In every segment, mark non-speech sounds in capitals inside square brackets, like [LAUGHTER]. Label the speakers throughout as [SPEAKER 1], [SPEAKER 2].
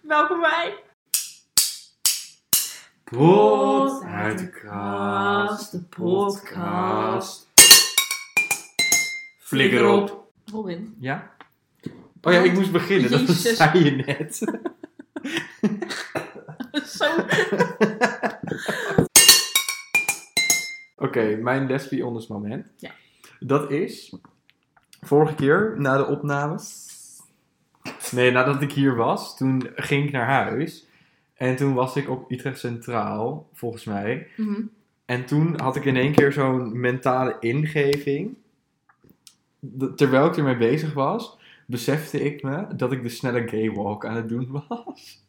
[SPEAKER 1] Welkom bij
[SPEAKER 2] Pot uit de kast.
[SPEAKER 1] de
[SPEAKER 2] Flikker op.
[SPEAKER 1] Robin, [LAUGHS]
[SPEAKER 2] Ja? Oh ja, ik moest beginnen. Dat
[SPEAKER 1] Jezus.
[SPEAKER 2] zei je net.
[SPEAKER 1] zo.
[SPEAKER 2] [LAUGHS] Oké, mijn lesbie moment.
[SPEAKER 1] Ja.
[SPEAKER 2] Dat is vorige keer na de opnames. Nee, nadat ik hier was, toen ging ik naar huis. En toen was ik op Utrecht Centraal, volgens mij.
[SPEAKER 1] Mhm.
[SPEAKER 2] En toen had ik in één keer zo'n mentale ingeving. Dat- Terwijl ik ermee bezig was, besefte ik me dat ik de snelle gay walk aan het doen [LAUGHS] was.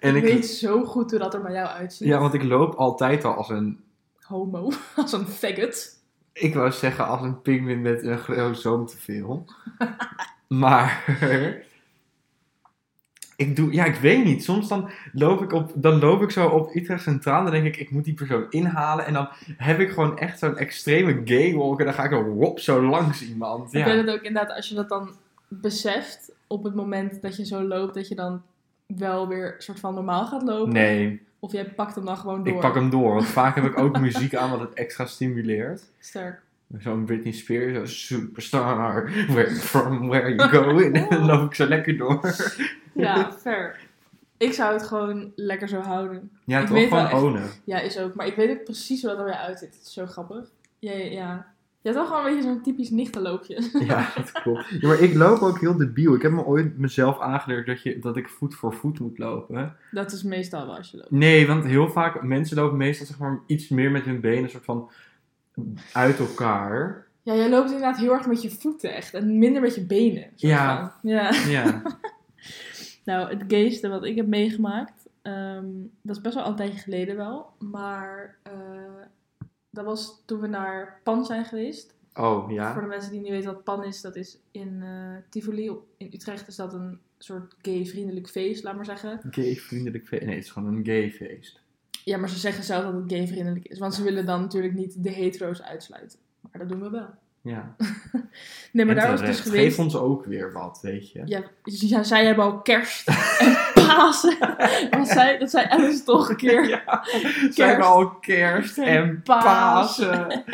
[SPEAKER 2] En
[SPEAKER 1] ik
[SPEAKER 2] ik,
[SPEAKER 1] weet zo goed hoe dat er bij jou uitziet.
[SPEAKER 2] ja, want ik loop altijd al als een,
[SPEAKER 1] Homo, [LAUGHS] als een faggot.
[SPEAKER 2] ik wou zeggen als een pinguïn met een chromosoom te veel. [LAUGHS] maar ik doe, ja, ik weet niet. Soms dan loop ik op, dan loop ik zo op Utrecht Centraal, dan denk ik, ik moet die persoon inhalen en dan heb ik gewoon echt zo'n extreme gay walk en dan ga ik er wop zo langs iemand.
[SPEAKER 1] Ik weet
[SPEAKER 2] Ja.
[SPEAKER 1] het ook inderdaad, als je dat dan beseft op het moment dat je zo loopt, dat je dan wel weer soort van normaal gaat lopen.
[SPEAKER 2] Nee,
[SPEAKER 1] Of jij pakt hem dan gewoon door.
[SPEAKER 2] ik pak hem door, want vaak heb ik ook muziek aan wat het extra stimuleert.
[SPEAKER 1] Sterk.
[SPEAKER 2] Zo'n Britney Spears, zo'n superstar, where, from where you
[SPEAKER 1] [LAUGHS]
[SPEAKER 2] going. En dan loop ik zo lekker door.
[SPEAKER 1] Ja, fair. Ik zou het gewoon lekker zo houden.
[SPEAKER 2] Ja,
[SPEAKER 1] Ik
[SPEAKER 2] toch
[SPEAKER 1] weet wel
[SPEAKER 2] gewoon
[SPEAKER 1] echt-
[SPEAKER 2] ownen.
[SPEAKER 1] Ja, is ook. Maar ik weet ook precies hoe dat er weer uitziet. Het is zo grappig. Ja, ja, ja. Je hebt wel gewoon een beetje zo'n typisch nichtenloopje. [LAUGHS]
[SPEAKER 2] [LAUGHS] Ja, dat klopt. Ja, maar ik loop ook heel debiel. Ik heb me ooit mezelf aangeleerd dat, je, dat ik voet voor voet moet lopen.
[SPEAKER 1] Dat is meestal wel als je loopt.
[SPEAKER 2] Nee, want heel vaak, mensen lopen meestal zeg maar iets meer met hun benen soort van uit elkaar.
[SPEAKER 1] Ja, jij loopt inderdaad heel erg met je voeten echt. En minder met je benen. soort
[SPEAKER 2] Ja.
[SPEAKER 1] van. ja. [LAUGHS]
[SPEAKER 2] Ja.
[SPEAKER 1] Nou, het gayste wat ik heb meegemaakt, ehm, dat is best wel al een tijdje geleden wel. Maar eh, dat was toen we naar Pan zijn geweest.
[SPEAKER 2] Oh,
[SPEAKER 1] Voor
[SPEAKER 2] ja.
[SPEAKER 1] de mensen die niet weten wat Pan is, dat is in eh Tivoli op, in Utrecht is dat een soort gay-vriendelijk feest, laat maar zeggen.
[SPEAKER 2] Gay vriendelijk feest. Nee, het is gewoon een gay feest.
[SPEAKER 1] Ja, maar ze zeggen zelf dat het gay-vriendelijk is, want ze willen dan natuurlijk niet de hetero's uitsluiten. Maar dat doen we wel.
[SPEAKER 2] Ja.
[SPEAKER 1] Nee, maar
[SPEAKER 2] En
[SPEAKER 1] daar was ik dus
[SPEAKER 2] terecht.
[SPEAKER 1] geweest.
[SPEAKER 2] Geef ons ook weer wat, weet je.
[SPEAKER 1] Ja, ja, zij hebben al kerst [LAUGHS] en Pasen. Want zij, dat zei Alice toch een keer.
[SPEAKER 2] [LAUGHS] Ja. Ze hebben al kerst en
[SPEAKER 1] Paas.
[SPEAKER 2] Pasen.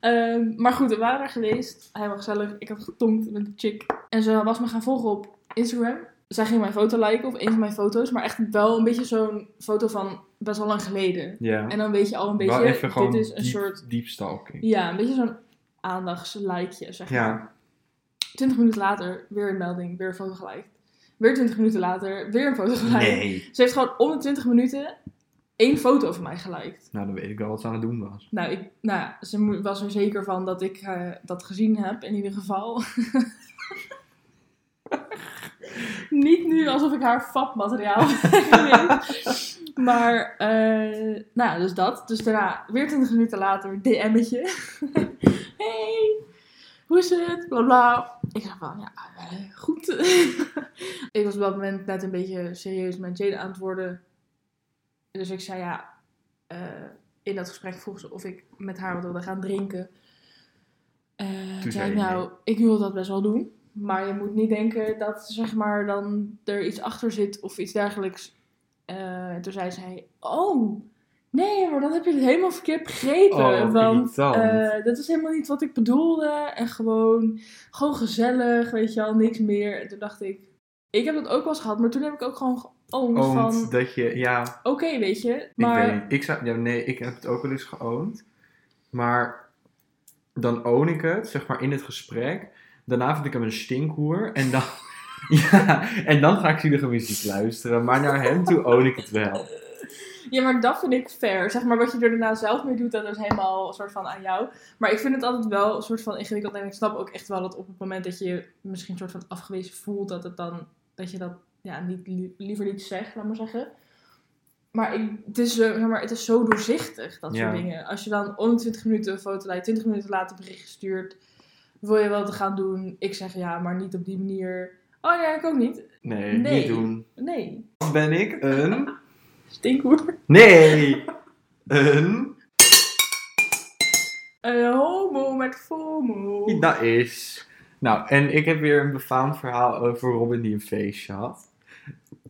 [SPEAKER 1] Ehm, maar goed, we waren er geweest. Hij was gezellig. Ik had getonkt met een chick. En ze was me gaan volgen op Instagram. Zij ging mijn foto liken of een van mijn foto's. Maar echt wel een beetje zo'n foto van best wel lang geleden.
[SPEAKER 2] Ja.
[SPEAKER 1] En dan weet je al een beetje,
[SPEAKER 2] Wel even gewoon
[SPEAKER 1] dit is een
[SPEAKER 2] diep-
[SPEAKER 1] soort...
[SPEAKER 2] deep stalking.
[SPEAKER 1] Ja, een beetje zo'n aandachtslijkje, zeg maar.
[SPEAKER 2] Ja.
[SPEAKER 1] 20 minuten later, weer een melding, weer een foto geliked. Weer 20 minuten later, weer een foto geliked.
[SPEAKER 2] Nee.
[SPEAKER 1] Ze heeft gewoon om de 20 minuten één foto van mij geliked.
[SPEAKER 2] Nou, dan weet ik wel wat ze aan het doen was.
[SPEAKER 1] Nou, ik, nou ja, ze mo- was er zeker van dat ik eh, dat gezien heb, in ieder geval. [LAUGHS] Niet nu alsof ik haar fapmateriaal [LAUGHS] vind. Maar, eh, nou ja, dus dat. Dus daarna, weer 20 minuten later, DM'tje. [LAUGHS] hey, hoe is het? Bla bla. Ik zeg van, ja, eh, goed. [LAUGHS] ik was op dat moment net een beetje serieus met Jade aan het worden. Dus ik zei, ja, eh, in dat gesprek vroeg ze of ik met haar wat wilde gaan drinken. Eh, toen zei
[SPEAKER 2] zei
[SPEAKER 1] ik,
[SPEAKER 2] je
[SPEAKER 1] nou, ik wil dat best wel doen. Maar je moet niet denken dat zeg maar, dan er iets achter zit of iets dergelijks. Eh, toen zei zij, oh, nee, maar dan heb je het helemaal verkeerd begrepen.
[SPEAKER 2] Oh, wat
[SPEAKER 1] want
[SPEAKER 2] irritant.
[SPEAKER 1] eh, dat is helemaal niet wat ik bedoelde. En gewoon, gewoon gezellig, weet je wel, niks meer. En toen dacht ik, ik heb dat ook wel eens gehad. Maar toen heb ik ook gewoon geoond van,
[SPEAKER 2] Oont
[SPEAKER 1] oké,
[SPEAKER 2] dat je, ja,
[SPEAKER 1] weet je.
[SPEAKER 2] Ik weet
[SPEAKER 1] Maar
[SPEAKER 2] niet. Ik zou, ja, nee, ik heb het ook wel eens geoond. Maar dan own ik het, zeg maar, in het gesprek. Daarna vind ik hem een stinkhoer. En dan, [LAUGHS] ja, en dan ga ik zielige muziek luisteren. Maar naar hem toe own ik het wel.
[SPEAKER 1] Ja, maar dat vind ik fair. Zeg maar wat je er daarna zelf mee doet, dat is helemaal een soort van aan jou. Maar ik vind het altijd wel een soort van ingewikkeld. En ik snap ook echt wel dat op het moment dat je je misschien een soort van afgewezen voelt, dat het dan dat je dat ja, niet, li- liever niet zegt, laat maar zeggen. Maar, ik, het is, eh, zeg maar het is zo doorzichtig, dat
[SPEAKER 2] Ja.
[SPEAKER 1] soort dingen. Als je dan om de 20 minuten een foto lijkt, 20 minuten later een bericht stuurt, wil je wel te gaan doen? Ik zeg ja, maar niet op die manier. Oh ja, ik ook niet.
[SPEAKER 2] Nee,
[SPEAKER 1] Nee.
[SPEAKER 2] niet doen.
[SPEAKER 1] Nee.
[SPEAKER 2] Dan ben ik een...
[SPEAKER 1] Stinkhoer.
[SPEAKER 2] Nee! Een...
[SPEAKER 1] Een homo met FOMO.
[SPEAKER 2] Dat is... Nou, en ik heb weer een befaamd verhaal over Robin die een feestje had.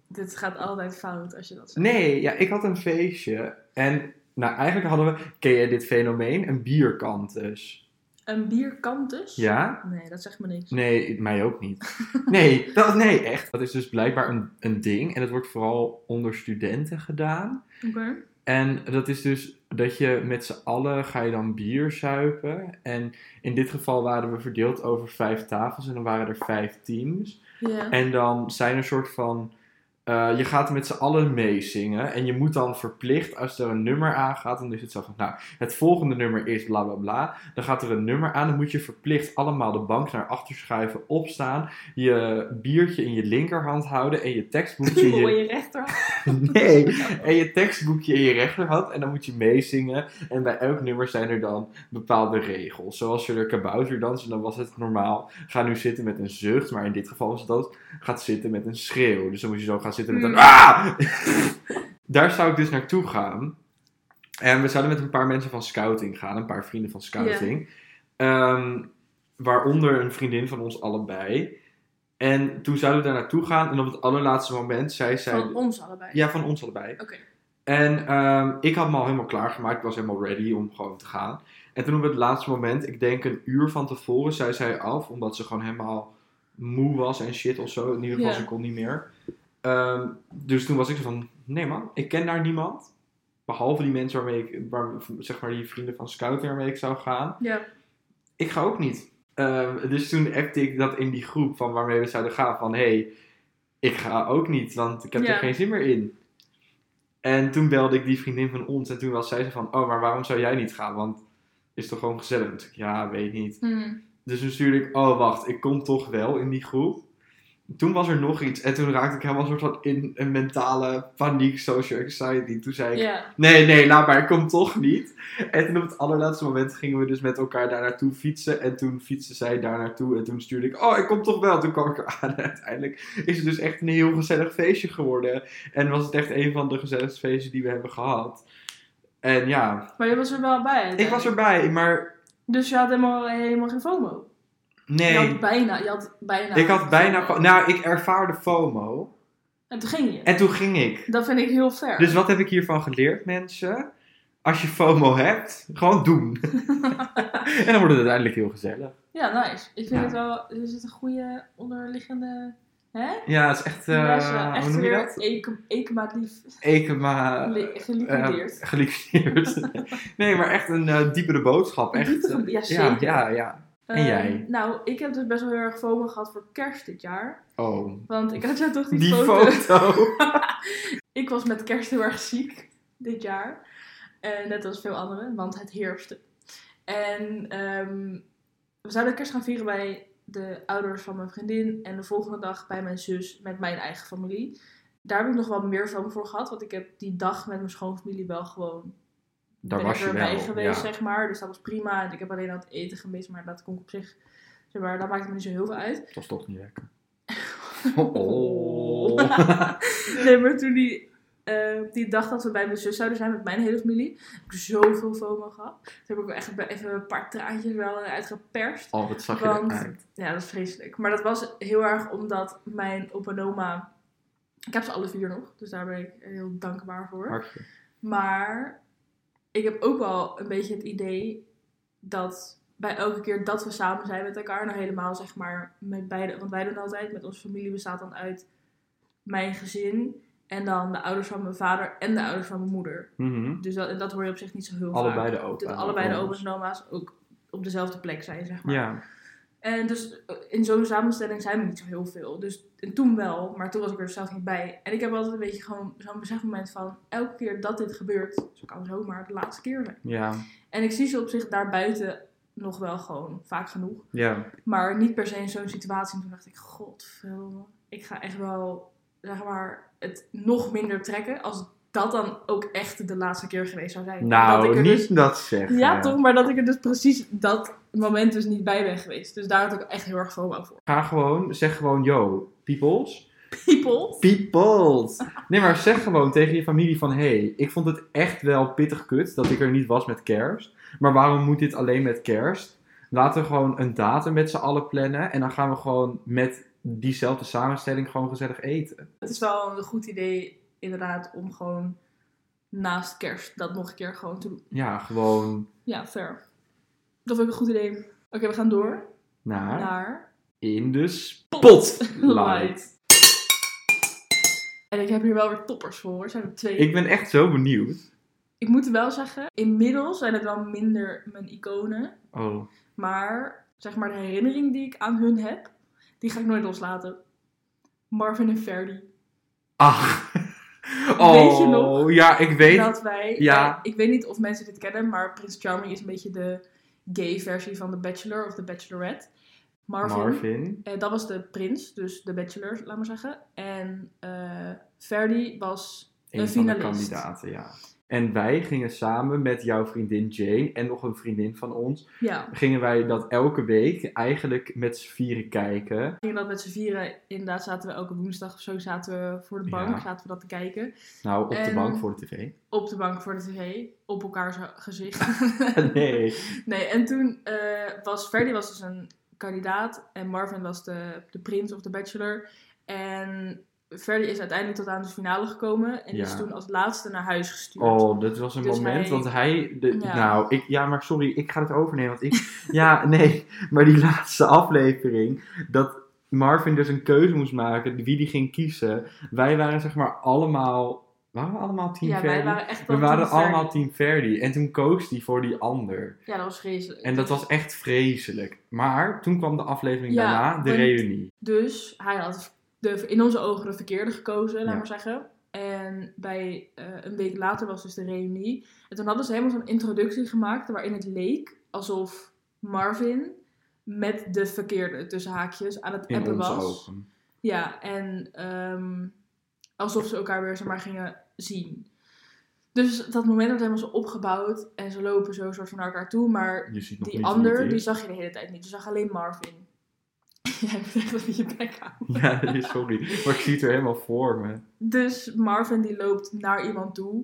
[SPEAKER 1] Dit gaat altijd fout als je dat zegt.
[SPEAKER 2] Nee, ja, ik had een feestje. En nou, eigenlijk hadden we, ken je dit fenomeen? Een bierkantus.
[SPEAKER 1] Een bierkantus?
[SPEAKER 2] Ja?
[SPEAKER 1] Nee, dat zegt me niks.
[SPEAKER 2] Nee, mij ook niet. Nee, dat, nee echt. Dat is dus blijkbaar een, een ding. En dat wordt vooral onder studenten gedaan.
[SPEAKER 1] Oké.
[SPEAKER 2] En dat is dus dat je met z'n allen ga je dan bier zuipen. En in dit geval waren we verdeeld over vijf tafels. En dan waren er vijf teams.
[SPEAKER 1] Ja.
[SPEAKER 2] En dan zijn er soort van. eh, je gaat met z'n allen meezingen. En je moet dan verplicht, als er een nummer aangaat, dan is het zo van. Nou, het volgende nummer is bla bla bla. Dan gaat er een nummer aan. Dan moet je verplicht allemaal de bank naar achter schuiven, opstaan. Je biertje in je linkerhand houden. En
[SPEAKER 1] [LAUGHS]
[SPEAKER 2] je tekstboekje in je
[SPEAKER 1] Mooie rechter.
[SPEAKER 2] [LAUGHS] Nee. En je tekstboekje in je rechterhand. En dan moet je meezingen. En bij elk nummer zijn er dan bepaalde regels. Zoals je er kabouter dansen, dan was het normaal. Ga nu zitten met een zucht. Maar in dit geval was het dat. Gaat zitten met een schreeuw. Dus dan moet je zo gaan zitten met een.
[SPEAKER 1] Mm.
[SPEAKER 2] Ah! [LAUGHS] Daar zou ik dus naartoe gaan. En we zouden met een paar mensen van scouting gaan. Een paar vrienden van scouting. Ehm, waaronder een vriendin van ons allebei. En toen zouden we daar naartoe gaan. En op het allerlaatste moment zei zij...
[SPEAKER 1] Van ons allebei.
[SPEAKER 2] Ja, van ons allebei.
[SPEAKER 1] Oké.
[SPEAKER 2] En ehm, ik had me al helemaal klaargemaakt. Ik was helemaal ready om gewoon te gaan. En toen op het laatste moment, ik denk een uur van tevoren, zei zij af. Omdat ze gewoon helemaal moe was en shit of zo. In ieder geval,
[SPEAKER 1] Ja.
[SPEAKER 2] ze kon niet meer. Ehm, dus toen was ik zo van, nee man, ik ken daar niemand. Behalve die mensen waarmee ik, waar, zeg maar die vrienden van Scouting waarmee ik zou gaan.
[SPEAKER 1] Ja.
[SPEAKER 2] Ik ga ook niet. Ehm, dus toen appte ik dat in die groep van waarmee we zouden gaan. Van, hey, ik ga ook niet, want ik heb
[SPEAKER 1] Ja.
[SPEAKER 2] er geen zin meer in. En toen belde ik die vriendin van ons en toen was zij ze van, oh, maar waarom zou jij niet gaan? Want is toch gewoon gezellig? Toen zei ik, ja, weet niet.
[SPEAKER 1] Hmm.
[SPEAKER 2] Dus toen stuurde ik, oh, wacht, ik kom toch wel in die groep. Toen was er nog iets en toen raakte ik helemaal een soort van in een mentale paniek, social anxiety. Toen zei ik,
[SPEAKER 1] Ja.
[SPEAKER 2] nee, nee, laat maar, ik kom toch niet. En toen op het allerlaatste moment gingen we dus met elkaar daar naartoe fietsen. En toen fietste zij daar naartoe en toen stuurde ik, oh, ik kom toch wel. Toen kwam ik eraan [LAUGHS] en uiteindelijk is het dus echt een heel gezellig feestje geworden. En was het echt een van de gezelligste feestjes die we hebben gehad. En ja,
[SPEAKER 1] Maar je was er wel bij.
[SPEAKER 2] ik was erbij, maar
[SPEAKER 1] Dus je had helemaal, helemaal geen FOMO. Je
[SPEAKER 2] nee.
[SPEAKER 1] had bijna. Je had bijna.
[SPEAKER 2] Ik had bijna, nou, ik ervaarde FOMO.
[SPEAKER 1] En toen ging je.
[SPEAKER 2] En toen ging ik.
[SPEAKER 1] Dat vind ik heel fair.
[SPEAKER 2] Dus wat heb ik hiervan geleerd, mensen? Als je FOMO hebt, gewoon doen. [LAUGHS] en dan wordt het uiteindelijk heel gezellig.
[SPEAKER 1] Ja, nice. Ik vind
[SPEAKER 2] Ja.
[SPEAKER 1] het wel... Er zit een goede onderliggende... Hè?
[SPEAKER 2] Ja, het is echt. eh,
[SPEAKER 1] Daar is eh,
[SPEAKER 2] hoe
[SPEAKER 1] echt
[SPEAKER 2] noem je
[SPEAKER 1] weer
[SPEAKER 2] dat? Eh,
[SPEAKER 1] eke- ekemaatlief
[SPEAKER 2] Ekema.
[SPEAKER 1] li- geliquideerd.
[SPEAKER 2] eh, geliquideerd. [LAUGHS] nee, maar echt een eh, diepere boodschap. Echt,
[SPEAKER 1] Diepere-
[SPEAKER 2] eh,
[SPEAKER 1] ja,
[SPEAKER 2] ja,
[SPEAKER 1] zeker.
[SPEAKER 2] ja, ja. eh, en jij?
[SPEAKER 1] Ehm, nou, ik heb dus best wel heel erg FOMO gehad voor kerst dit jaar.
[SPEAKER 2] Oh.
[SPEAKER 1] Want ik had jou toch die,
[SPEAKER 2] Die
[SPEAKER 1] foto...
[SPEAKER 2] foto.
[SPEAKER 1] [LAUGHS] Ik was met kerst heel erg ziek dit jaar. Eh, net als veel anderen, want het heerste. En ehm, we zouden kerst gaan vieren bij de ouders van mijn vriendin. En de volgende dag bij mijn zus met mijn eigen familie. Daar heb ik nog wel meer van voor gehad. Want ik heb die dag met mijn schoonfamilie wel gewoon
[SPEAKER 2] Daar
[SPEAKER 1] ben
[SPEAKER 2] was
[SPEAKER 1] ik
[SPEAKER 2] je
[SPEAKER 1] erbij
[SPEAKER 2] wel.
[SPEAKER 1] geweest,
[SPEAKER 2] ja.
[SPEAKER 1] zeg maar. Dus dat was prima. En ik heb alleen aan het eten gemist, maar dat kon ik op zich. Zeg maar, dat maakt me niet zo heel veel uit.
[SPEAKER 2] Dat was toch niet
[SPEAKER 1] [LAUGHS]
[SPEAKER 2] lekker. Oh.
[SPEAKER 1] nee, maar toen die, eh, die dag dat we bij mijn zus zouden zijn met mijn hele familie, heb ik zoveel FOMO gehad. Toen heb ik wel echt be- even een paar traantjes wel uitgeperst.
[SPEAKER 2] Oh, wat zag je
[SPEAKER 1] Want-
[SPEAKER 2] eruit.
[SPEAKER 1] Ja, dat is vreselijk. Maar dat was heel erg omdat mijn opa en oma. Ik heb ze alle vier nog, dus daar ben ik heel dankbaar voor.
[SPEAKER 2] Hartje.
[SPEAKER 1] Maar ik heb ook wel een beetje het idee dat bij elke keer dat we samen zijn met elkaar, nou helemaal zeg maar met beide, want wij doen altijd met onze familie bestaat dan uit mijn gezin en dan de ouders van mijn vader en de ouders van mijn moeder.
[SPEAKER 2] Mhm.
[SPEAKER 1] Dus dat, en dat hoor je op zich niet zo heel
[SPEAKER 2] Allebei
[SPEAKER 1] vaak.
[SPEAKER 2] de opa's.
[SPEAKER 1] Dat allebei de opa's en oma's ook op dezelfde plek zijn, zeg maar.
[SPEAKER 2] Ja.
[SPEAKER 1] En dus in zo'n samenstelling zijn we niet zo heel veel. Dus en toen wel, maar toen was ik er zelf niet bij. En ik heb altijd een beetje gewoon zo'n besefmoment van... elke keer dat dit gebeurt, zo kan zomaar de laatste keer zijn.
[SPEAKER 2] Ja.
[SPEAKER 1] En ik zie ze op zich daarbuiten nog wel gewoon vaak genoeg.
[SPEAKER 2] Ja.
[SPEAKER 1] Maar niet per se in zo'n situatie. En toen dacht ik, godverdomme, ik ga echt wel zeg maar, het nog minder trekken... als dat dan ook echt de laatste keer geweest zou zijn. dat ik
[SPEAKER 2] Nou,
[SPEAKER 1] er
[SPEAKER 2] niet
[SPEAKER 1] dus-
[SPEAKER 2] dat zeggen.
[SPEAKER 1] ja, toch, maar dat ik er dus precies dat moment dus niet bij ben geweest. Dus daar had ik echt heel erg FOMO voor.
[SPEAKER 2] Ga gewoon, zeg gewoon, yo, peoples.
[SPEAKER 1] people.
[SPEAKER 2] Peoples. Nee, maar zeg gewoon tegen je familie van... Hé, hey, ik vond het echt wel pittig kut dat ik er niet was met kerst. Maar waarom moet dit alleen met kerst? Laten we gewoon een datum met z'n allen plannen. En dan gaan we gewoon met diezelfde samenstelling gewoon gezellig eten.
[SPEAKER 1] Het is wel een goed idee, inderdaad, om gewoon naast kerst dat nog een keer gewoon te doen.
[SPEAKER 2] Ja, gewoon
[SPEAKER 1] Ja, fair. Dat vind ik een goed idee. Oké, we gaan door
[SPEAKER 2] naar
[SPEAKER 1] naar
[SPEAKER 2] in de spotlight.
[SPEAKER 1] [LAUGHS] light. En ik heb hier wel weer toppers voor. hoor. Er zijn er twee.
[SPEAKER 2] Ik ben echt zo benieuwd.
[SPEAKER 1] ik moet wel zeggen, inmiddels zijn het wel minder mijn iconen.
[SPEAKER 2] Oh,
[SPEAKER 1] Maar zeg maar de herinnering die ik aan hun heb, die ga ik nooit loslaten. Marvin en Ferdy.
[SPEAKER 2] ach. Ah. Oh,
[SPEAKER 1] je nog
[SPEAKER 2] ja, ik weet.
[SPEAKER 1] Dat wij,
[SPEAKER 2] ja.
[SPEAKER 1] eh, ik weet niet of mensen dit kennen, maar Prins Charming is een beetje de gay versie van The Bachelor of The Bachelorette. Marvin,
[SPEAKER 2] Marvin.
[SPEAKER 1] eh, dat was de prins, dus de bachelor, laat maar zeggen. En eh Ferdy was
[SPEAKER 2] Een
[SPEAKER 1] een
[SPEAKER 2] van de
[SPEAKER 1] finalist.
[SPEAKER 2] kandidaten, ja. En wij gingen samen met jouw vriendin Jane en nog een vriendin van ons,
[SPEAKER 1] Ja,
[SPEAKER 2] gingen wij dat elke week eigenlijk met z'n vieren kijken.
[SPEAKER 1] we gingen dat met z'n vieren. Inderdaad zaten we elke woensdag of zo zaten we voor de bank,
[SPEAKER 2] Ja.
[SPEAKER 1] zaten we dat te kijken.
[SPEAKER 2] Nou, op de
[SPEAKER 1] En-
[SPEAKER 2] bank voor de tv. [LAUGHS]
[SPEAKER 1] Op de bank voor de tv, op elkaars gezicht. [LAUGHS]
[SPEAKER 2] Nee.
[SPEAKER 1] Nee, en toen eh, was Ferdy was dus een kandidaat en Marvin was de, de prins of de bachelor. En Ferdy is uiteindelijk tot aan de finale gekomen en is
[SPEAKER 2] Ja.
[SPEAKER 1] toen als laatste naar huis gestuurd.
[SPEAKER 2] Oh, dat was een
[SPEAKER 1] Dus
[SPEAKER 2] moment,
[SPEAKER 1] hij-
[SPEAKER 2] want hij... De,
[SPEAKER 1] Ja.
[SPEAKER 2] Nou, ik, ja, maar sorry, ik ga het overnemen, want ik... [LAUGHS] ja, nee, maar die laatste aflevering, dat Marvin dus een keuze moest maken, wie die ging kiezen. Wij waren zeg maar allemaal... Waren we allemaal team
[SPEAKER 1] ja,
[SPEAKER 2] Ferdy?
[SPEAKER 1] wij waren echt wel
[SPEAKER 2] we waren
[SPEAKER 1] toen Ferdy-
[SPEAKER 2] allemaal team Ferdy. En toen koos hij voor die ander.
[SPEAKER 1] Ja, dat was vreselijk.
[SPEAKER 2] En dat was echt vreselijk. Maar toen kwam de aflevering
[SPEAKER 1] Ja,
[SPEAKER 2] daarna, de
[SPEAKER 1] want-
[SPEAKER 2] reunie.
[SPEAKER 1] Dus hij had de, in onze ogen de verkeerde gekozen, laat
[SPEAKER 2] Ja.
[SPEAKER 1] maar zeggen. En bij, eh, een week later was dus de reunie. En toen hadden ze helemaal zo'n introductie gemaakt waarin het leek alsof Marvin met de verkeerde tussen haakjes aan het
[SPEAKER 2] In
[SPEAKER 1] appen
[SPEAKER 2] onze
[SPEAKER 1] was.
[SPEAKER 2] ogen.
[SPEAKER 1] Ja, en ehm, alsof ze elkaar weer zomaar gingen zien. Dus dat moment werd helemaal zo opgebouwd en ze lopen zo soort van naar elkaar toe. Maar
[SPEAKER 2] Je ziet nog
[SPEAKER 1] die
[SPEAKER 2] niet
[SPEAKER 1] ander,
[SPEAKER 2] wie het
[SPEAKER 1] die
[SPEAKER 2] is.
[SPEAKER 1] zag je de hele tijd niet. Je zag alleen [LAUGHS] Marvin. Jij moet echt even je bek houden.
[SPEAKER 2] [LAUGHS] Ja, sorry. Maar ik zie het er helemaal voor me.
[SPEAKER 1] Dus Marvin die loopt naar iemand toe.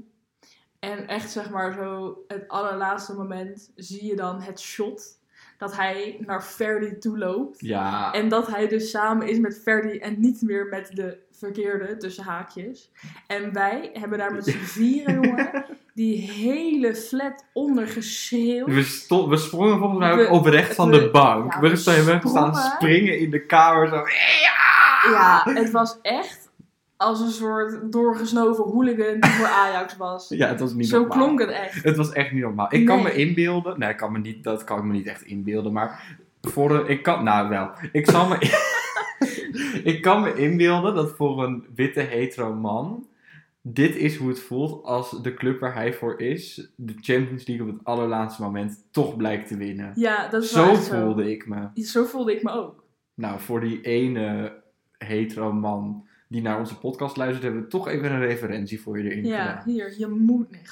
[SPEAKER 1] En echt zeg maar zo het allerlaatste moment zie je dan het shot dat hij naar Ferdy toe loopt.
[SPEAKER 2] Ja,
[SPEAKER 1] En dat hij dus samen is met Ferdy en niet meer met de verkeerde tussen haakjes. En wij hebben daar
[SPEAKER 2] [LAUGHS]
[SPEAKER 1] met z'n vieren, jongen, die hele flat onder geschreeuwd.
[SPEAKER 2] We, sto- we sprongen volgens mij ook
[SPEAKER 1] We-
[SPEAKER 2] oprecht van
[SPEAKER 1] we-
[SPEAKER 2] de bank.
[SPEAKER 1] ja,
[SPEAKER 2] we
[SPEAKER 1] we
[SPEAKER 2] zijn we hebben staan
[SPEAKER 1] sprongen.
[SPEAKER 2] springen in de kamer. Zo.
[SPEAKER 1] Ja, Ah, het was echt als een soort doorgesnoven hooligan die voor Ajax was.
[SPEAKER 2] Ja, het was niet
[SPEAKER 1] Zo
[SPEAKER 2] normaal.
[SPEAKER 1] klonk het echt.
[SPEAKER 2] Het was echt niet normaal. Ik kan me
[SPEAKER 1] Nee.
[SPEAKER 2] inbeelden. Nee, ik kan me niet, dat kan ik me niet echt inbeelden. Maar voor een, ik kan, nou wel. Ik zal me, ik kan me [LAUGHS] inbeelden dat voor een witte hetero man. Dit is hoe het voelt als de club waar hij voor is, de Champions League op het allerlaatste moment toch blijkt te winnen.
[SPEAKER 1] Ja, dat is wel
[SPEAKER 2] Zo
[SPEAKER 1] echt zo.
[SPEAKER 2] voelde ik me.
[SPEAKER 1] Zo voelde ik me ook.
[SPEAKER 2] Nou, voor die ene hetero man die naar onze podcast luistert, hebben we toch even een referentie voor je erin
[SPEAKER 1] Ja,
[SPEAKER 2] gedaan.
[SPEAKER 1] hier, je moet niet.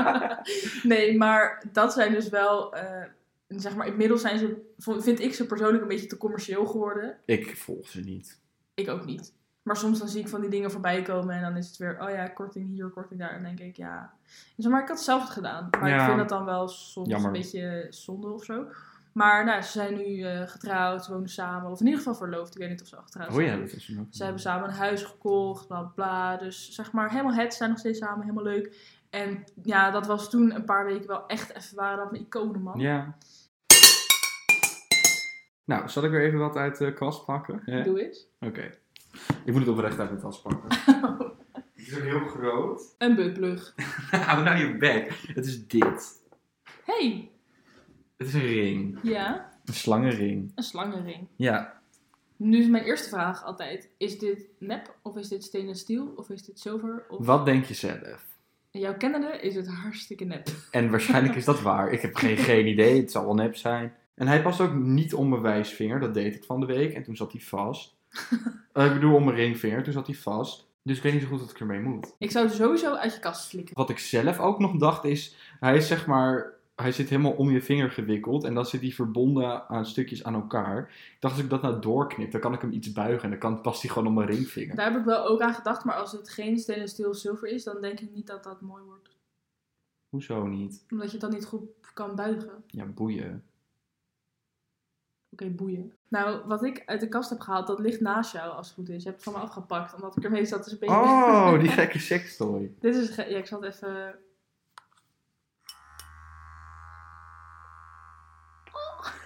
[SPEAKER 2] [LAUGHS]
[SPEAKER 1] nee, maar dat zijn dus wel, eh, zeg maar, inmiddels zijn ze, vind ik ze persoonlijk een beetje te commercieel geworden.
[SPEAKER 2] Ik volg ze niet.
[SPEAKER 1] Ik ook niet. Maar soms dan zie ik van die dingen voorbij komen en dan is het weer, oh ja, korting hier, korting daar. En dan denk ik, ja. Dus, maar ik had zelf het gedaan. Maar
[SPEAKER 2] Ja.
[SPEAKER 1] ik vind dat dan wel soms
[SPEAKER 2] Jammer.
[SPEAKER 1] een beetje zonde of zo. Maar nou, ze zijn nu eh, getrouwd, ze wonen samen. Of in ieder geval verloofd. Ik weet niet of ze al getrouwd
[SPEAKER 2] Oh
[SPEAKER 1] zijn.
[SPEAKER 2] ja, dat is hem ook.
[SPEAKER 1] Ze hebben samen een huis gekocht, bla bla, bla. Dus zeg maar, helemaal het, ze zijn nog steeds samen, helemaal leuk. En ja, dat was toen een paar weken wel echt even waren dat mijn iconen, man.
[SPEAKER 2] Ja. Nou, zal ik weer even wat uit de kast pakken? Ja? Oké.
[SPEAKER 1] Doe eens.
[SPEAKER 2] Ik moet het oprecht uit mijn tas pakken. [LAUGHS] Het is ook heel groot.
[SPEAKER 1] [LAUGHS] Een buttplug.
[SPEAKER 2] [LAUGHS] Hou nou je bek. Het is dit.
[SPEAKER 1] hey,
[SPEAKER 2] Het is een ring.
[SPEAKER 1] ja,
[SPEAKER 2] Een slangenring.
[SPEAKER 1] een slangenring.
[SPEAKER 2] Ja.
[SPEAKER 1] Nu is mijn eerste vraag altijd, is dit nep of is dit steen en stiel of is dit zilver? Of...
[SPEAKER 2] Wat denk je zelf?
[SPEAKER 1] Jouw kennende is het hartstikke nep.
[SPEAKER 2] En waarschijnlijk is dat [LAUGHS] waar. Ik heb geen, geen idee. Het zal wel nep zijn. En hij past ook niet om mijn wijsvinger. Dat deed ik van de week. En toen zat hij [LAUGHS] vast. Eh, ik bedoel, om mijn ringvinger. Toen zat hij vast. Dus ik weet niet zo goed wat ik ermee moet.
[SPEAKER 1] Ik zou het sowieso uit je kast flikkeren.
[SPEAKER 2] Wat ik zelf ook nog dacht is... Hij is zeg maar... Hij zit helemaal om je vinger gewikkeld. En dan zit hij verbonden aan stukjes aan elkaar. Ik dacht, als ik dat nou doorknip, dan kan ik hem iets buigen. En dan kan, past hij gewoon om mijn ringvinger.
[SPEAKER 1] Daar heb ik wel ook aan gedacht, maar als het geen steen en stiel of zilver is, dan denk ik niet dat dat mooi wordt.
[SPEAKER 2] Hoezo niet?
[SPEAKER 1] Omdat je het dan niet goed kan buigen.
[SPEAKER 2] Ja, boeien.
[SPEAKER 1] boeien. Nou, wat ik uit de kast heb gehaald, dat ligt naast jou als het goed is. Je hebt het van me afgepakt, omdat ik ermee zat. Dus een beetje...
[SPEAKER 2] Oh, die gekke sextoy.
[SPEAKER 1] [LAUGHS] Dit is... ge- Ja, ik zal het even...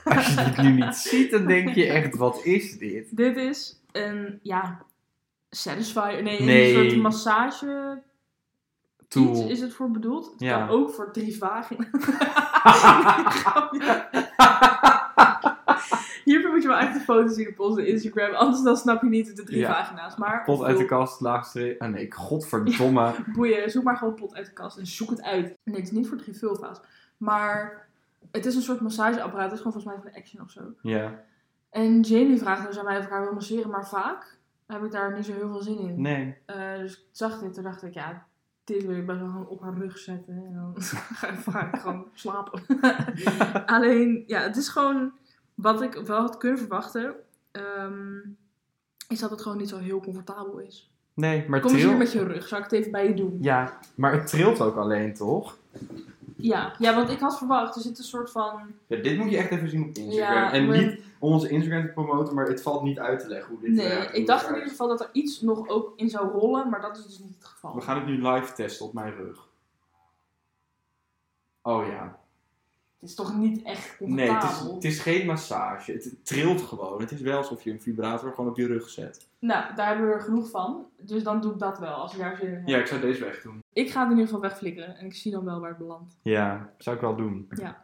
[SPEAKER 2] Als je dit nu niet ziet, dan denk je echt, wat is dit?
[SPEAKER 1] Dit is een, ja, satisfier. Nee,
[SPEAKER 2] Nee.
[SPEAKER 1] een soort massage... Iets
[SPEAKER 2] Tool.
[SPEAKER 1] is het voor bedoeld. Het
[SPEAKER 2] Ja.
[SPEAKER 1] kan ook voor drie
[SPEAKER 2] [LAUGHS]
[SPEAKER 1] vagina. Hiervoor moet je wel echt de foto's zien op onze Instagram. Anders dan snap je niet de drie
[SPEAKER 2] Ja.
[SPEAKER 1] vagina's. Maar
[SPEAKER 2] Pot uit de
[SPEAKER 1] bedoel,
[SPEAKER 2] kast, laagstreep. Ah nee, ik- godverdomme.
[SPEAKER 1] boeien, zoek maar gewoon pot uit de kast en zoek het uit. Nee, het is niet voor drie vulva's. Maar het is een soort massageapparaat. Het is gewoon volgens mij van Action of zo.
[SPEAKER 2] Ja.
[SPEAKER 1] En Jamie vraagt dus aan mij of ik haar wil masseren. Maar vaak heb ik daar niet zo heel veel zin in.
[SPEAKER 2] Nee.
[SPEAKER 1] Eh, dus ik zag dit en dacht ik, ja, dit wil ik best wel gewoon op haar rug zetten. En dan [LAUGHS] ga ik vaak gewoon slapen. [LAUGHS] Alleen, ja, het is gewoon wat ik wel had kunnen verwachten. ehm, is dat het gewoon niet zo heel comfortabel is.
[SPEAKER 2] Nee, maar
[SPEAKER 1] Kom eens hier
[SPEAKER 2] trilt.
[SPEAKER 1] met je rug, zal ik het even bij je doen?
[SPEAKER 2] Ja, maar het trilt ook alleen, toch?
[SPEAKER 1] Ja, ja want ik had verwacht, er zit een soort van...
[SPEAKER 2] Ja, dit moet je echt even zien op Instagram.
[SPEAKER 1] Ja,
[SPEAKER 2] en
[SPEAKER 1] maar-
[SPEAKER 2] niet om onze Instagram te promoten, maar het valt niet uit te leggen hoe dit
[SPEAKER 1] Nee,
[SPEAKER 2] eruit
[SPEAKER 1] ik dacht in
[SPEAKER 2] ziet.
[SPEAKER 1] ieder geval dat er iets nog ook in zou rollen, maar dat is dus niet het geval.
[SPEAKER 2] We gaan het nu live testen op mijn rug. Oh ja.
[SPEAKER 1] Het is toch niet echt
[SPEAKER 2] Nee, het is,
[SPEAKER 1] comfortabel?
[SPEAKER 2] het is geen massage. Het, het trilt gewoon. Het is wel alsof je een vibrator gewoon op je rug zet.
[SPEAKER 1] Nou, daar hebben we er genoeg van, dus dan doe ik dat wel, als ik daar zin in heb.
[SPEAKER 2] Ja, ik zou deze weg doen.
[SPEAKER 1] Ik ga het in ieder geval wegflikkeren en ik zie dan wel waar het belandt.
[SPEAKER 2] Ja, zou ik wel doen.
[SPEAKER 1] Ja.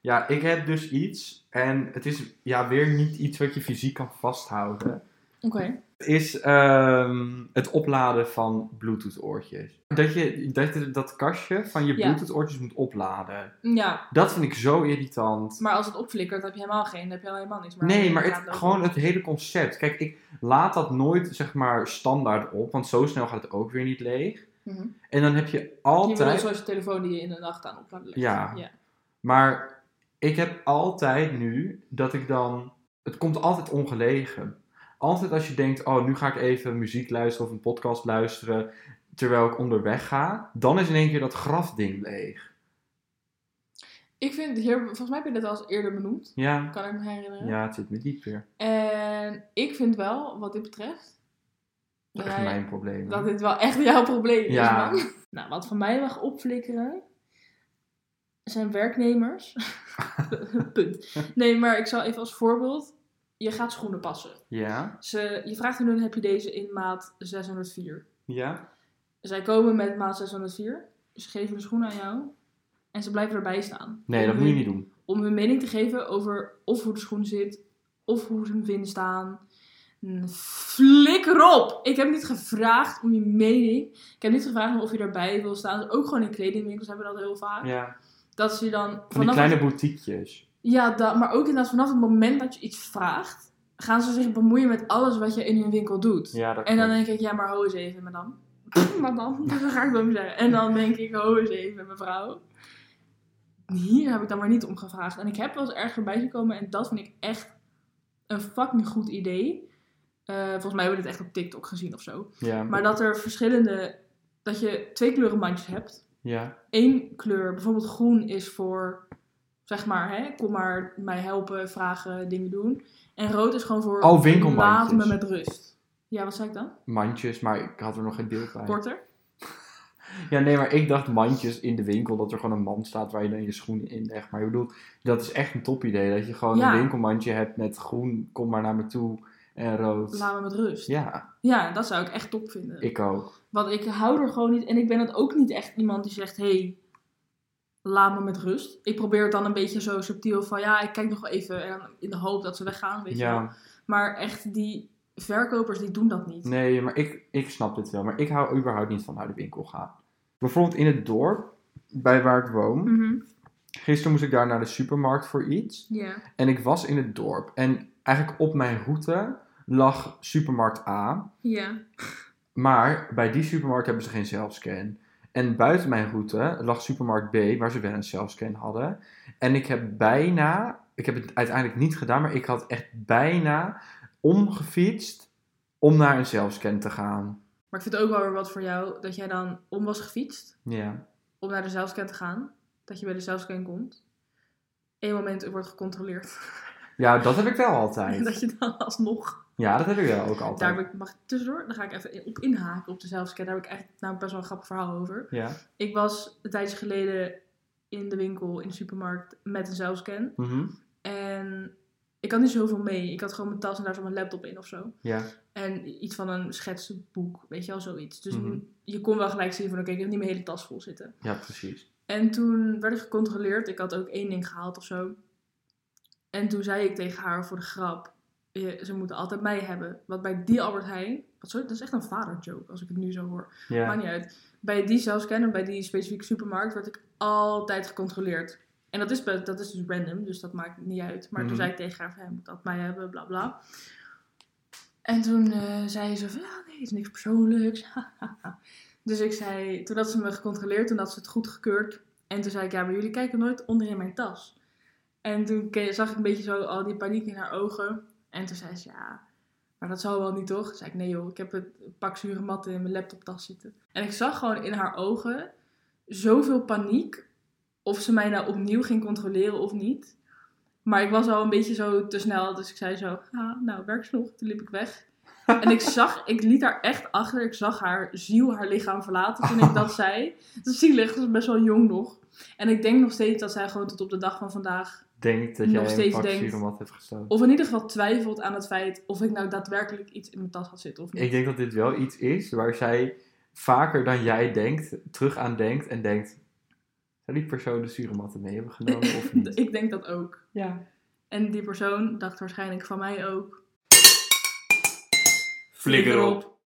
[SPEAKER 2] Ja, ik heb dus iets. En het is ja, weer niet iets wat je fysiek kan vasthouden.
[SPEAKER 1] Oké.
[SPEAKER 2] is ehm, het opladen van Bluetooth-oortjes. Dat je dat, je dat kastje van je
[SPEAKER 1] Ja.
[SPEAKER 2] Bluetooth-oortjes moet opladen.
[SPEAKER 1] Ja,
[SPEAKER 2] Dat vind ik zo irritant.
[SPEAKER 1] maar als het opflikkert, heb je helemaal geen, dan heb je al helemaal niks.
[SPEAKER 2] Nee, maar
[SPEAKER 1] Ja,
[SPEAKER 2] het,
[SPEAKER 1] dan-
[SPEAKER 2] gewoon het hele concept. Kijk, ik laad dat nooit zeg maar standaard op, want zo snel gaat het ook weer niet leeg.
[SPEAKER 1] Mhm.
[SPEAKER 2] En dan heb je
[SPEAKER 1] Je bedoelt
[SPEAKER 2] altijd.
[SPEAKER 1] zoals je telefoon die je in de nacht aan opladen legt.
[SPEAKER 2] Ja.
[SPEAKER 1] Ja.
[SPEAKER 2] Maar ik heb altijd nu dat ik dan. Het komt altijd ongelegen. Altijd als je denkt, oh, nu ga ik even muziek luisteren of een podcast luisteren terwijl ik onderweg ga, dan is in één keer dat grafding leeg.
[SPEAKER 1] Ik vind hier, volgens mij heb je dit al eens eerder benoemd,
[SPEAKER 2] Ja,
[SPEAKER 1] kan ik me herinneren.
[SPEAKER 2] ja het zit me diep weer.
[SPEAKER 1] En ik vind wel, wat dit betreft,
[SPEAKER 2] Dat
[SPEAKER 1] dat,
[SPEAKER 2] is
[SPEAKER 1] jij-
[SPEAKER 2] mijn probleem.
[SPEAKER 1] dat dit wel echt jouw probleem
[SPEAKER 2] Ja.
[SPEAKER 1] is, man. Nou, wat van mij mag opflikkeren, zijn werknemers. [LAUGHS] Punt. Nee, maar ik zal even als voorbeeld, je gaat schoenen passen.
[SPEAKER 2] Ja,
[SPEAKER 1] Ze, je vraagt hun, hun, heb je deze in maat 604?
[SPEAKER 2] ja,
[SPEAKER 1] Zij komen met maat 604. Ze geven de schoen aan jou. En ze blijven erbij staan.
[SPEAKER 2] nee,
[SPEAKER 1] Om
[SPEAKER 2] dat moet je
[SPEAKER 1] hun-
[SPEAKER 2] niet doen.
[SPEAKER 1] Om hun mening te geven over of hoe de schoen zit, of hoe ze hem vinden staan. Mm, Flikker op! Ik heb niet gevraagd om je mening. Ik heb niet gevraagd of je erbij wil staan. Dus ook gewoon in kledingwinkels hebben we dat heel vaak.
[SPEAKER 2] Ja.
[SPEAKER 1] Dat ze je dan
[SPEAKER 2] Van die
[SPEAKER 1] vanaf
[SPEAKER 2] kleine boutiquejes.
[SPEAKER 1] ja, dat, maar ook inderdaad vanaf het moment dat je iets vraagt, gaan ze zich bemoeien met alles wat je in hun winkel doet.
[SPEAKER 2] Ja, dat
[SPEAKER 1] En dan
[SPEAKER 2] klopt.
[SPEAKER 1] denk ik, ja, maar ho eens even, madame.
[SPEAKER 2] [LAUGHS]
[SPEAKER 1] madame, [LAUGHS] dat ga ik wel niet zeggen. En dan denk ik, ho eens even, mevrouw. Hier heb ik dan maar niet om gevraagd. En ik heb wel eens ergens voorbij zien komen en dat vind ik echt een fucking goed idee. Eh, volgens mij hebben we dit echt op TikTok gezien of zo.
[SPEAKER 2] Ja,
[SPEAKER 1] Maar dat er verschillende, dat je twee kleuren mandjes hebt.
[SPEAKER 2] ja,
[SPEAKER 1] Eén kleur, bijvoorbeeld groen, is voor, zeg maar, hè, kom maar mij helpen, vragen, dingen doen. En rood is gewoon voor,
[SPEAKER 2] Oh, winkelmandjes.
[SPEAKER 1] laat me met rust. Ja, wat zei ik dan?
[SPEAKER 2] mandjes, maar ik had er nog geen beeld bij.
[SPEAKER 1] Korter?
[SPEAKER 2] Ja, nee, maar ik dacht mandjes in de winkel, dat er gewoon een mand staat waar je dan je schoenen in legt. Maar ik bedoel, dat is echt een topidee. Dat je gewoon
[SPEAKER 1] Ja.
[SPEAKER 2] een winkelmandje hebt met groen, kom maar naar me toe, en rood.
[SPEAKER 1] Laat me met rust. Ja,
[SPEAKER 2] Ja,
[SPEAKER 1] dat zou ik echt top vinden.
[SPEAKER 2] ik ook.
[SPEAKER 1] Want ik hou er gewoon niet. En ik ben het ook niet echt iemand die zegt: hey, laat me met rust. Ik probeer het dan een beetje zo subtiel van: ja, ik kijk nog wel even. En dan in de hoop dat ze weggaan. Weet je wel.
[SPEAKER 2] Ja,
[SPEAKER 1] Maar echt, die verkopers die doen dat niet.
[SPEAKER 2] nee, maar ik, ik snap dit wel. Maar ik hou überhaupt niet van naar de winkel gaan. Bijvoorbeeld in het dorp, bij waar ik woon.
[SPEAKER 1] Mhm.
[SPEAKER 2] Gisteren moest ik daar naar de supermarkt voor iets.
[SPEAKER 1] Ja.
[SPEAKER 2] En ik was in het dorp. En eigenlijk op mijn route lag supermarkt A.
[SPEAKER 1] Ja.
[SPEAKER 2] Maar bij die supermarkt hebben ze geen zelfscan. En buiten mijn route lag supermarkt B, waar ze wel een zelfscan hadden. En ik heb bijna, ik heb het uiteindelijk niet gedaan, maar ik had echt bijna omgefietst om naar een zelfscan te gaan.
[SPEAKER 1] Maar ik vind het ook wel weer wat voor jou dat jij dan om was gefietst
[SPEAKER 2] Ja.
[SPEAKER 1] om naar de zelfscan te gaan. Dat je bij de zelfscan komt. één moment wordt gecontroleerd.
[SPEAKER 2] Ja, dat heb ik wel
[SPEAKER 1] En [LAUGHS]
[SPEAKER 2] altijd.
[SPEAKER 1] dat je dan alsnog...
[SPEAKER 2] Ja, dat heb ik wel ook
[SPEAKER 1] Daar
[SPEAKER 2] altijd.
[SPEAKER 1] heb ik, mag ik tussendoor? Daar ga ik even op inhaken op de zelfscan. Daar heb ik echt nou, best wel een grappig verhaal over.
[SPEAKER 2] Ja.
[SPEAKER 1] Ik was een tijdje geleden in de winkel, in de supermarkt, met een zelfscan.
[SPEAKER 2] Mhm.
[SPEAKER 1] En ik had niet zoveel mee. Ik had gewoon mijn tas en daar zat mijn laptop in of zo.
[SPEAKER 2] Ja.
[SPEAKER 1] En iets van een schetsboek, weet je wel, zoiets. Dus
[SPEAKER 2] Mhm.
[SPEAKER 1] je kon wel gelijk zien van, oké, ik heb niet mijn hele tas vol zitten.
[SPEAKER 2] ja, precies.
[SPEAKER 1] En toen werd ik gecontroleerd. Ik had ook één ding gehaald of zo. En toen zei ik tegen haar voor de grap, "Je- ze moeten altijd mij hebben. Want bij die Albert Heijn, wat sorry, dat is echt een vaderjoke als ik het nu zo hoor.
[SPEAKER 2] Ja.
[SPEAKER 1] Maakt niet uit. Bij die zelfscanner, bij die specifieke supermarkt, werd ik altijd gecontroleerd. En dat is, be- dat is dus random, dus dat maakt niet uit. Maar
[SPEAKER 2] Mhm.
[SPEAKER 1] toen zei ik tegen haar, van, "Jij moet dat mij hebben, bla bla. En toen eh, zei ze van, ja, nee, het is niks persoonlijks. [LAUGHS] dus ik zei, toen had ze me gecontroleerd, toen had ze het goedgekeurd. En toen zei ik, ja, maar jullie kijken nooit onderin mijn tas. En toen ke- zag ik een beetje zo al die paniek in haar ogen. En toen zei ze, ja, maar dat zal wel niet toch? Toen zei ik, nee joh, ik heb het pak zure matten in mijn laptoptas zitten. En ik zag gewoon in haar ogen zoveel paniek. Of ze mij nou opnieuw ging controleren of niet. Maar ik was al een beetje zo te snel, dus ik zei zo, ah, nou, werk ze nog. Toen liep ik
[SPEAKER 2] [LAUGHS]
[SPEAKER 1] weg. En ik zag, ik liet haar echt achter. Ik zag haar ziel haar lichaam verlaten toen ik
[SPEAKER 2] [LAUGHS]
[SPEAKER 1] dat zei. Dat is zielig, dat is best wel jong nog. En ik denk nog steeds dat zij gewoon tot op de dag van vandaag
[SPEAKER 2] Denk dat
[SPEAKER 1] Nog
[SPEAKER 2] jij een
[SPEAKER 1] steeds
[SPEAKER 2] pak
[SPEAKER 1] denkt-
[SPEAKER 2] siromat hebt gestolen.
[SPEAKER 1] of in ieder geval twijfelt aan het feit of ik nou daadwerkelijk iets in mijn tas had zitten of niet.
[SPEAKER 2] Ik denk dat dit wel iets is waar zij vaker dan jij denkt, terug aan denkt en denkt... Zou die persoon de siromatten mee hebben genomen of niet?
[SPEAKER 1] [LAUGHS] Ik denk dat ook.
[SPEAKER 2] Ja.
[SPEAKER 1] En die persoon dacht waarschijnlijk van mij ook.
[SPEAKER 2] [LAUGHS] Flikker op!